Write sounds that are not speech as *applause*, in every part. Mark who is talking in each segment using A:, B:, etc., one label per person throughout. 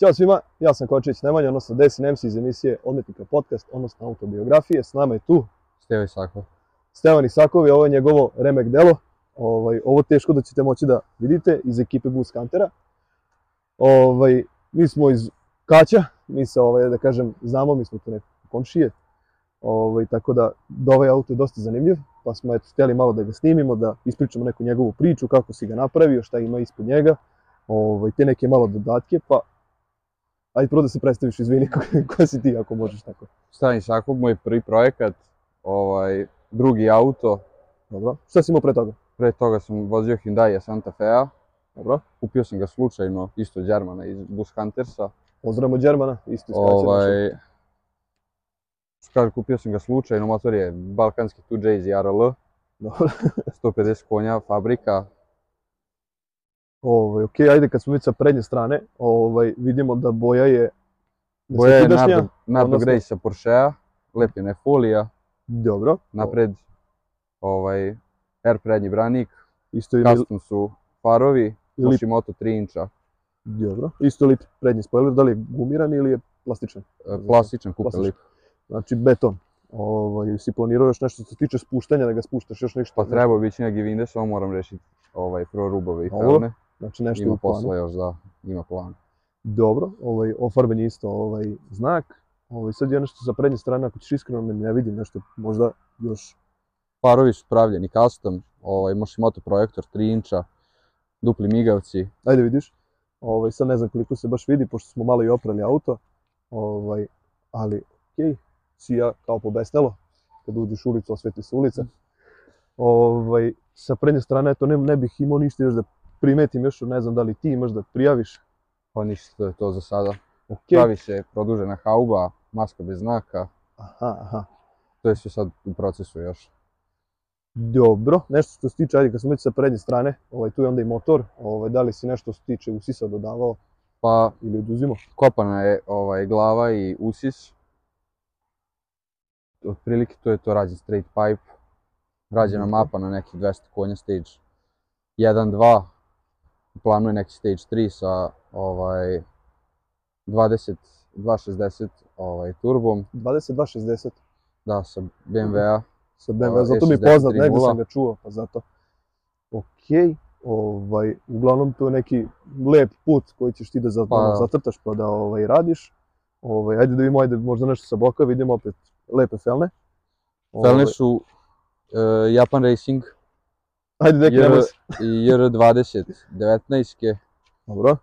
A: Ćao svima, ja sam Kočević Nemanja, odnosno Desin MC iz emisije Odmetnika podcast, odnosno autobiografije. S nama je tu
B: Steo i Sako.
A: Stevan Isakovi, ovo je njegovo remek delo. Ovaj, ovo teško da ćete moći da vidite iz ekipe Goose Huntera. Ovaj, mi smo iz Kaća, mi se, ovaj, da kažem, znamo, mi smo tu neke komšije. Ovaj, tako da, da ovaj auto je dosta zanimljiv, pa smo eto, htjeli malo da ga snimimo, da ispričamo neku njegovu priču, kako si ga napravio, šta ima ispod njega, ovaj, te neke malo dodatke, pa Ajde, prvo da se predstaviš, izvini, *laughs* ko, ko si ti, ako možeš tako.
B: Stani Sakov, moj prvi projekat, ovaj, drugi auto.
A: Dobro. Šta si imao pre toga?
B: Pre toga sam vozio Hyundai Santa Fea.
A: Dobro.
B: Kupio sam ga slučajno, isto od Đermana iz Bus Huntersa.
A: Pozdravimo Đermana, isto iz Kraća.
B: Ovaj, Kaže, kupio sam ga slučajno, motor je balkanski 2J iz
A: *laughs*
B: RL,
A: Dobro.
B: 150 konja, fabrika.
A: Ovaj, okej, ajde, kad smo već sa prednje strane, ovaj, vidimo da boja je... da
B: Boja je
A: svakidašnja.
B: Nardo, Nardo
A: odnosno-
B: Grey sa Porschea, lepljena je folija,
A: Dobro.
B: napred ovaj, R prednji branik,
A: Isto je li,
B: custom su farovi,
A: Ili-
B: Moshi Moto 3 inča.
A: dobro. Isto je lip prednji spoiler, da li je gumiran ili je plastičan?
B: E, Plastičan
A: Plastičan.
B: kupili.
A: Znači, beton. Ovaj, si planirao još nešto što se tiče spuštanja, da ga spuštaš još nešto?
B: Pa trebao bići na Givinde, samo moram rešiti ovaj, prvo rubove i
A: Dobro,
B: felne.
A: Znači, nešto je
B: Ima
A: u planu.
B: posla još, da, ima plan.
A: Dobro, ovaj, ofarben je isto ovaj, znak. Ovaj, sad ja nešto sa prednje strane, ako ćeš iskreno, ne, ne vidim nešto, možda još...
B: Parovi su pravljeni custom, ovaj, Moshimoto projektor 3 inča, dupli migavci,
A: Ajde vidiš. Ovaj, sad ne znam koliko se baš vidi, pošto smo malo i oprali auto. Ovaj, ali, okej, si ja kao pobestelo. Kad uđeš u ulicu, osvetli se ulica. Ovaj, sa prednje strane, eto, ne, ne bih imao ništa još da primetim, još ne znam da li ti imaš da prijaviš.
B: pa ništa to je to za sada.
A: Okej.
B: Pravi se produžena hauba, maska bez znaka,
A: Aha, aha.
B: to je sve sad u procesu još.
A: Dobro, nešto što se tiče, ajde, kad smo već sa prednje strane, ovaj, tu je onda i motor, ovaj, da li si nešto što se tiče usisa dodavao
B: Pa
A: ili oduzimao?
B: kopana je ovaj, glava i usis. Otprilike to je to rađen straight pipe. Rađena
A: Dobro.
B: mapa na nekih 200 konja stage 1, 2. U planu je neki stage 3 sa ovaj, 20, 260 ovaj, turbom,
A: 2260
B: da, sa BMW-a.
A: sa BMW,
B: Ova,
A: zato mi je
B: E63
A: poznat, negde
B: nula.
A: sam ga čuo, pa zato. Okej, ovaj, uglavnom to je neki lep put koji ćeš ti da za,
B: Pa-
A: ono, zatrtaš pa da ovaj, radiš. Ovaj, ajde da vidimo, ajde možda nešto sa boka, vidimo opet lepe felne. Ovaj,
B: Felne su e, Japan Racing
A: Ajde, deki, nemoj
B: jer-
A: se.
B: i JR20 19-ke,
A: Dobro.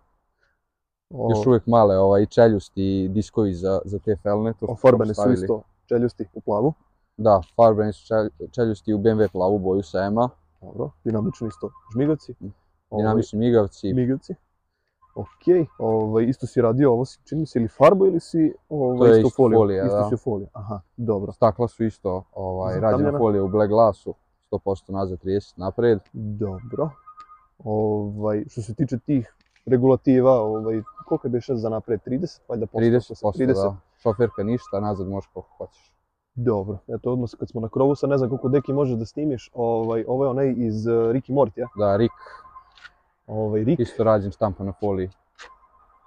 A: Ovaj,
B: još uvijek male ovaj, čeljusti i diskovi za, za te felne. To
A: Ofarbane su
B: stavili.
A: isto čeljusti u plavu.
B: Da, Farbrand su čel- čeljusti u BMW plavu boju sa EMA,
A: Dobro, dinamični isto žmigavci.
B: Mm.
A: Ovaj,
B: dinamični migavci,
A: Migavci. Ok, ovaj, isto si radio ovo, si, čini mi se, ili farbo ili si
B: To
A: ovaj,
B: je
A: isto
B: isto
A: folio?
B: folija,
A: isto
B: da.
A: si folija, aha, dobro.
B: stakla su isto ovaj,
A: Zatamljena.
B: rađena folija u Black Glassu, 100% nazad, 30 napred.
A: Dobro. Ovaj, što se tiče tih regulativa, ovaj, koliko je biše za napred? 30? Valjda posto,
B: 30%,
A: 30.
B: da. Šoferka ništa, nazad možeš koliko hoćeš.
A: Dobro. Eto, odmah kad smo na krovu, sad ne znam koliko deki možeš da snimiš. Ovaj, ovo je onaj iz uh, Ricky Mortija.
B: Da, Rik,
A: Ovaj, Rick,
B: isto rađen štampa na foliji.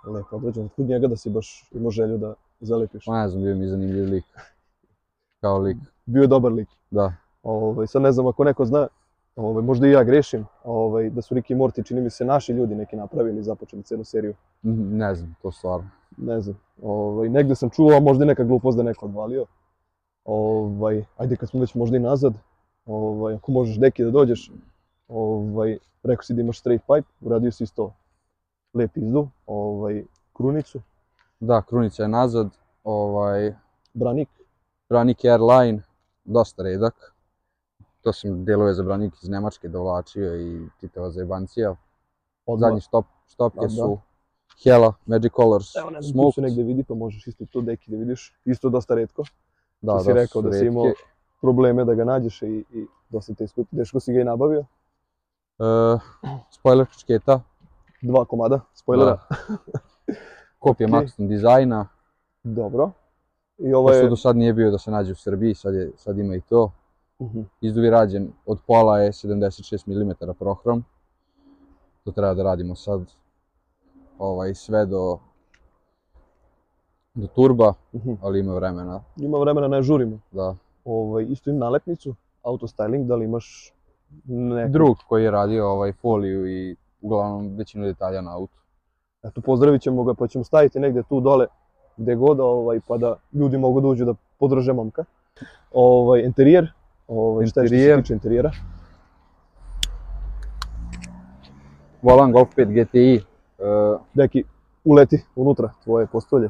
A: lepo određen. Otkud njega da si baš imao želju da zalepiš?
B: Ma ne znam, bio mi zanimljiv lik. Kao lik,
A: Bio je dobar lik.
B: da.
A: Ovaj, sad ne znam ako neko zna, ovaj, možda i ja grešim, ovaj, da su Ricky i Morty, čini mi se, naši ljudi neki napravili i započeli celu seriju.
B: N- Ne znam, to stvarno.
A: Ne znam, ovaj, negde sam čuo, a možda i neka glupost da je neko odvalio. Ovaj, ajde kad smo već možda i nazad, ovaj, ako možeš deki da dođeš, ovaj, rekao si da imaš straight pipe, uradio si isto lep izduv, ovaj, krunicu,
B: Da, Krunica je nazad, ovaj,
A: branik,
B: Branik Airline, dosta redak. To sam delove za Branik iz Nemačke dovlačio i čitava zajebancija.
A: odmah.
B: Zadnji štop, štopke
A: Da, da.
B: su Hela, Magic Colors,
A: Evo, ne znam, tu se
B: Smoke.
A: negde vidi, pa možeš isto to deki da vidiš, isto dosta redko.
B: Da,
A: što si
B: dosta
A: rekao
B: su
A: da si
B: retke.
A: imao- probleme da ga nađeš i, i dosta te iskupi. Deško si ga i nabavio,
B: E, spoiler kačketa,
A: dva komada spoilera.
B: Da.
A: *laughs*
B: kopija
A: Ok.
B: Maxton dizajna.
A: Dobro. I ovaj, ovo
B: Ovo
A: je...
B: do sad nije bio da se nađe u Srbiji, sad, je, sad ima i to.
A: Mhm.
B: Izduv je rađen, od pola je 76 mm prohrom. To treba da radimo sad. Ovaj, sve do do turba,
A: Mhm.
B: ali ima vremena,
A: Ima vremena, ne žurimo.
B: da.
A: Ovaj, isto im nalepnicu, auto styling, da li imaš neku?
B: Drug koji je radio ovaj foliju i uglavnom većinu detalja na autu.
A: Eto, pozdravit ćemo ga, pa ćemo staviti negde tu dole, gde god, ovaj, pa da ljudi mogu da uđu da podrže momka. Ovaj, interijer, ovaj, šta je što se
B: Interijer.
A: tiče interijera?
B: Volan Golf 5 GTI, e,
A: Deki, uleti unutra tvoje postolje.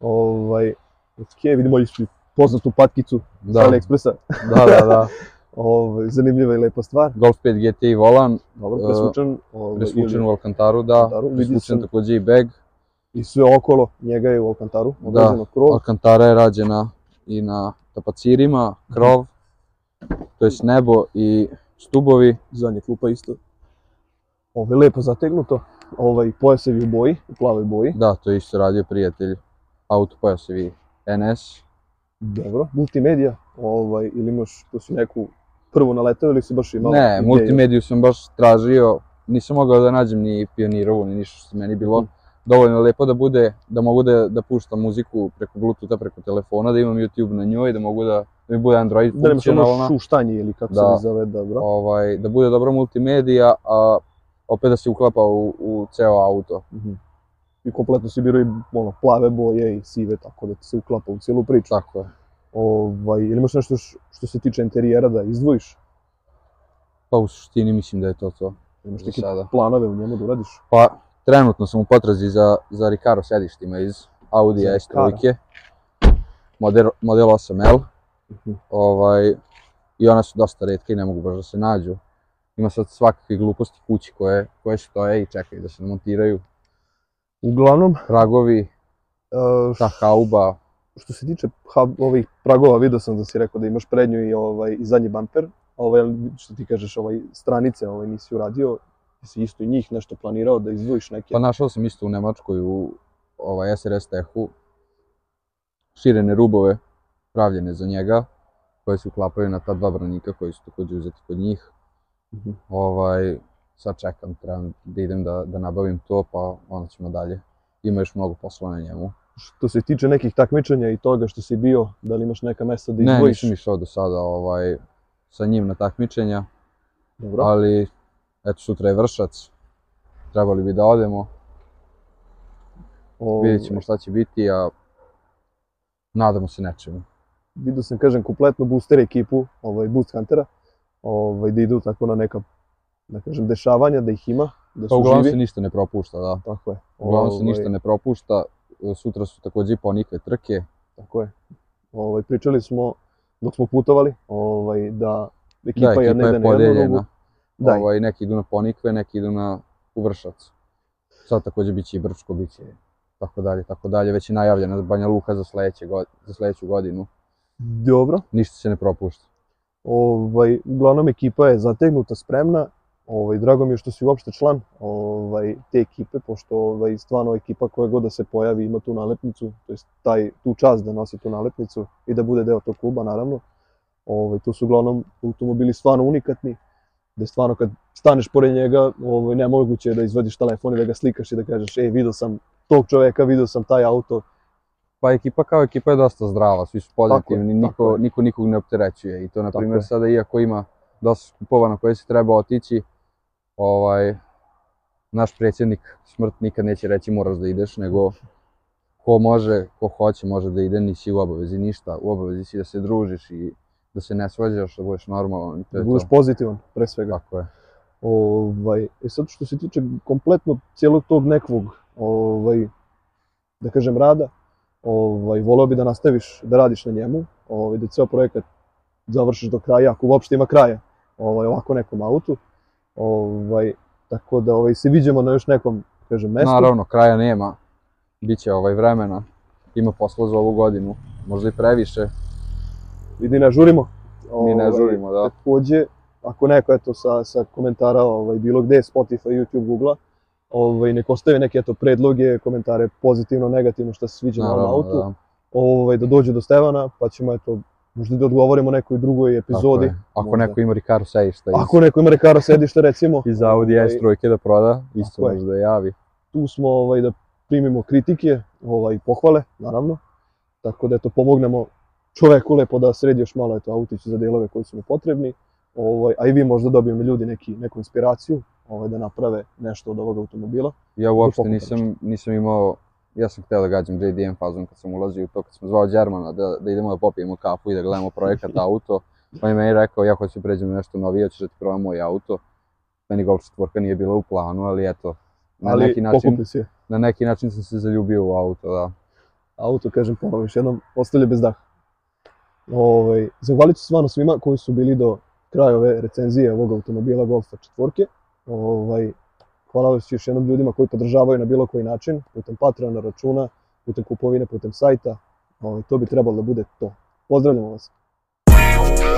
A: Ovaj, ok, vidimo istu poznatu patkicu da.
B: da,
A: sa AliExpressa.
B: da, da,
A: *laughs*
B: da.
A: Ovaj, zanimljiva i lepa stvar.
B: Golf 5 GTI volan,
A: Dobro,
B: E,
A: presvučen. ovaj,
B: presvučen
A: ili-
B: u Alcantaru, da,
A: Alcantaru, vidi
B: presvučen
A: se-
B: takođe i bag.
A: I sve okolo njega je u Alcantaru, odrađeno krov.
B: Alcantara je rađena i na tapacirima, krov, to jest nebo i stubovi.
A: zadnja klupa isto. Ovo je lepo zategnuto, ovaj pojasevi u boji, u plavoj boji.
B: Da, to je isto radio prijatelj. Auto pojasevi NS.
A: Dobro, multimedija, ovaj, ili imaš, tu si neku prvu naletao ili si baš imao
B: Ne,
A: ideju?
B: multimediju sam baš tražio, nisam mogao da nađem ni pionirovu, ni ništa što je meni bilo
A: Mhm.
B: dovoljno lepo da bude, da mogu da, da puštam muziku preko bluetootha, preko telefona, da imam YouTube na njoj, da mogu da, da mi bude Android
A: Da nemaš ono
B: funkcionalna,
A: šuštanje ili kako se
B: Da.
A: li zove, dobro.
B: ovaj, da bude dobra multimedija, a opet da se uklapa u, u ceo auto.
A: Mhm. I kompletno si birao i ono, plave boje i sive, tako da ti se uklapa u cijelu priču.
B: Tako je.
A: Ovaj, ili imaš nešto š- što se tiče interijera da izdvojiš?
B: Pa u suštini mislim da je to to.
A: Imaš
B: Za
A: neke
B: sada.
A: planove u njemu da uradiš?
B: Pa, trenutno sam u potrazi za, za Recaro sedištima iz Audi
A: Za
B: S3, model, model 8L.
A: Mhm.
B: Ovaj, I ona su dosta redke i ne mogu baš da se nađu. Ima sad svakakve gluposti kući koje, koje stoje i čekaju da se montiraju.
A: Uglavnom,
B: Pragovi,
A: e,
B: ta hauba,
A: što se tiče hub, ovih pragova, video sam da si rekao da imaš prednju i ovaj i zadnji bamper, a ovaj što ti kažeš, ovaj stranice, ovaj nisi uradio, jesi isto i njih nešto planirao da izdvojiš neke.
B: Pa našao sam isto u Nemačkoj u ovaj SRS tehu širene rubove pravljene za njega koje se uklapaju na ta dva branika koji su takođe uzeti kod njih.
A: Mhm.
B: Ovaj, sad čekam, trebam da idem da, da nabavim to, pa onda ćemo dalje. Ima još mnogo posla na njemu.
A: Što se tiče nekih takmičenja i toga što si bio, da li imaš neka mesta da
B: Ne,
A: izdvojiš?
B: nisam išao do sada ovaj, sa njim na takmičenja,
A: Dobro.
B: ali eto sutra je vršac, trebali bi da odemo.
A: O,
B: Vidjet ćemo šta će biti, a nadamo se nečemu.
A: Vidio sam, kažem, kompletno booster ekipu, ovaj, boost huntera, ovaj, da idu tako na neka, da kažem, dešavanja, da ih ima, da
B: Pa
A: su
B: uglavnom
A: živi.
B: se ništa ne propušta, da.
A: Tako je.
B: Uglavnom se
A: Ovaj,
B: ništa ne propušta. E, Sutra su takođe i ponikve trke.
A: Tako je. Ovaj, pričali smo, dok smo putovali, ovaj, da ekipa,
B: da, ekipa
A: jedna ide
B: je
A: na jednu
B: podeljena.
A: nogu. Da, ovaj.
B: ovaj, neki idu na ponikve, neki idu na uvršac. Sad takođe biće i Brčko, biće tako dalje, tako dalje. Već je najavljena Banja Luka za, sledeće god, za sledeću godinu.
A: dobro.
B: Ništa se ne propušta.
A: Ovaj, uglavnom, ekipa je zategnuta, spremna. Ovaj, drago mi je što si uopšte član ovaj, te ekipe, pošto ovaj, stvarno ekipa koja god da se pojavi ima tu nalepnicu, to jest taj, tu čast da nosi tu nalepnicu i da bude deo tog kluba, naravno. Ovaj, tu su uglavnom automobili stvarno unikatni, da je stvarno kad staneš pored njega, ovaj, nemoguće je da izvadiš telefon i da ga slikaš i da kažeš, ej, video sam tog čoveka, video sam taj auto,
B: Pa ekipa kao ekipa je dosta zdrava, svi su pozitivni,
A: Tako je, tako
B: niko,
A: je.
B: niko nikog ne opterećuje i to na
A: Tako je.
B: primjer sada iako ima dosta skupova na koje se treba otići, ovaj, naš predsjednik smrt nikad neće reći moraš da ideš, nego ko može, ko hoće može da ide, nisi u obavezi ništa, u obavezi si da se družiš i da se ne svađaš, da budeš normalan i to
A: da
B: je
A: budeš
B: to.
A: pozitivan, pre svega.
B: Tako je.
A: Ovaj, e sad što se tiče kompletno cijelog tog nekog, ovaj, da kažem, rada, ovaj, voleo bi da nastaviš da radiš na njemu, ovaj, da ceo projekat završiš do kraja, ako uopšte ima kraja, ovaj, ovako nekom autu. Ovaj, tako da ovaj, se viđemo na još nekom, kažem, mestu.
B: Naravno, kraja nema, bit će ovaj vremena, ima posla za ovu godinu, možda i previše,
A: Vidi, ne žurimo.
B: mi ne
A: Ovaj,
B: žurimo, da.
A: Takođe, ako neko eto sa, sa komentara ovaj, bilo gde, Spotify, YouTube, Google, ovaj, nek ostave neke eto, predloge, komentare pozitivno, negativno, šta se sviđa na ovom autu, da.
B: da.
A: Ovaj, da dođe do Stevana, pa ćemo eto, možda da odgovorimo nekoj drugoj
B: Tako
A: epizodi.
B: je. Ako
A: možda.
B: neko ima Ricardo sedišta iz,
A: Ako neko ima rekara sedište, recimo,
B: iz Audi
A: ovaj,
B: S trojke da proda, isto
A: Tako je.
B: može da javi.
A: tu smo ovaj, da primimo kritike, ovaj, pohvale, naravno. Tako da eto, pomognemo čoveku lepo da sredi još malo eto, autić za delove koji su mu potrebni. Ovaj, a i vi možda dobijemo ljudi neki, neku inspiraciju ovaj, da naprave nešto od ovog automobila.
B: Ja uopšte
A: Duplo
B: nisam, nisam imao, ja sam hteo da gađam JDM fazom kad sam ulazio u to, kad sam zvao Đermana da, da idemo da popijemo kafu i da gledamo
A: *laughs*
B: projekat auto, on je meni rekao ja hoću da pređem na nešto novije, hoćeš da ti probam moj auto. Meni Golf četvorka nije bila u planu, ali eto, na,
A: ali
B: neki način,
A: pokupi se
B: na neki način sam se zaljubio u auto, da.
A: auto, kažem ponovo još jednom, ostavlja bez daha. Ovaj, zahvalit ću stvarno svima koji su bili do kraja ove recenzije ovog automobila Golfa četvorke. Ovaj, hvala vas još jednom ljudima koji podržavaju na bilo koji način, putem Patreona računa, putem kupovine, putem sajta. Ovaj, to bi trebalo da bude to. Pozdravljamo vas.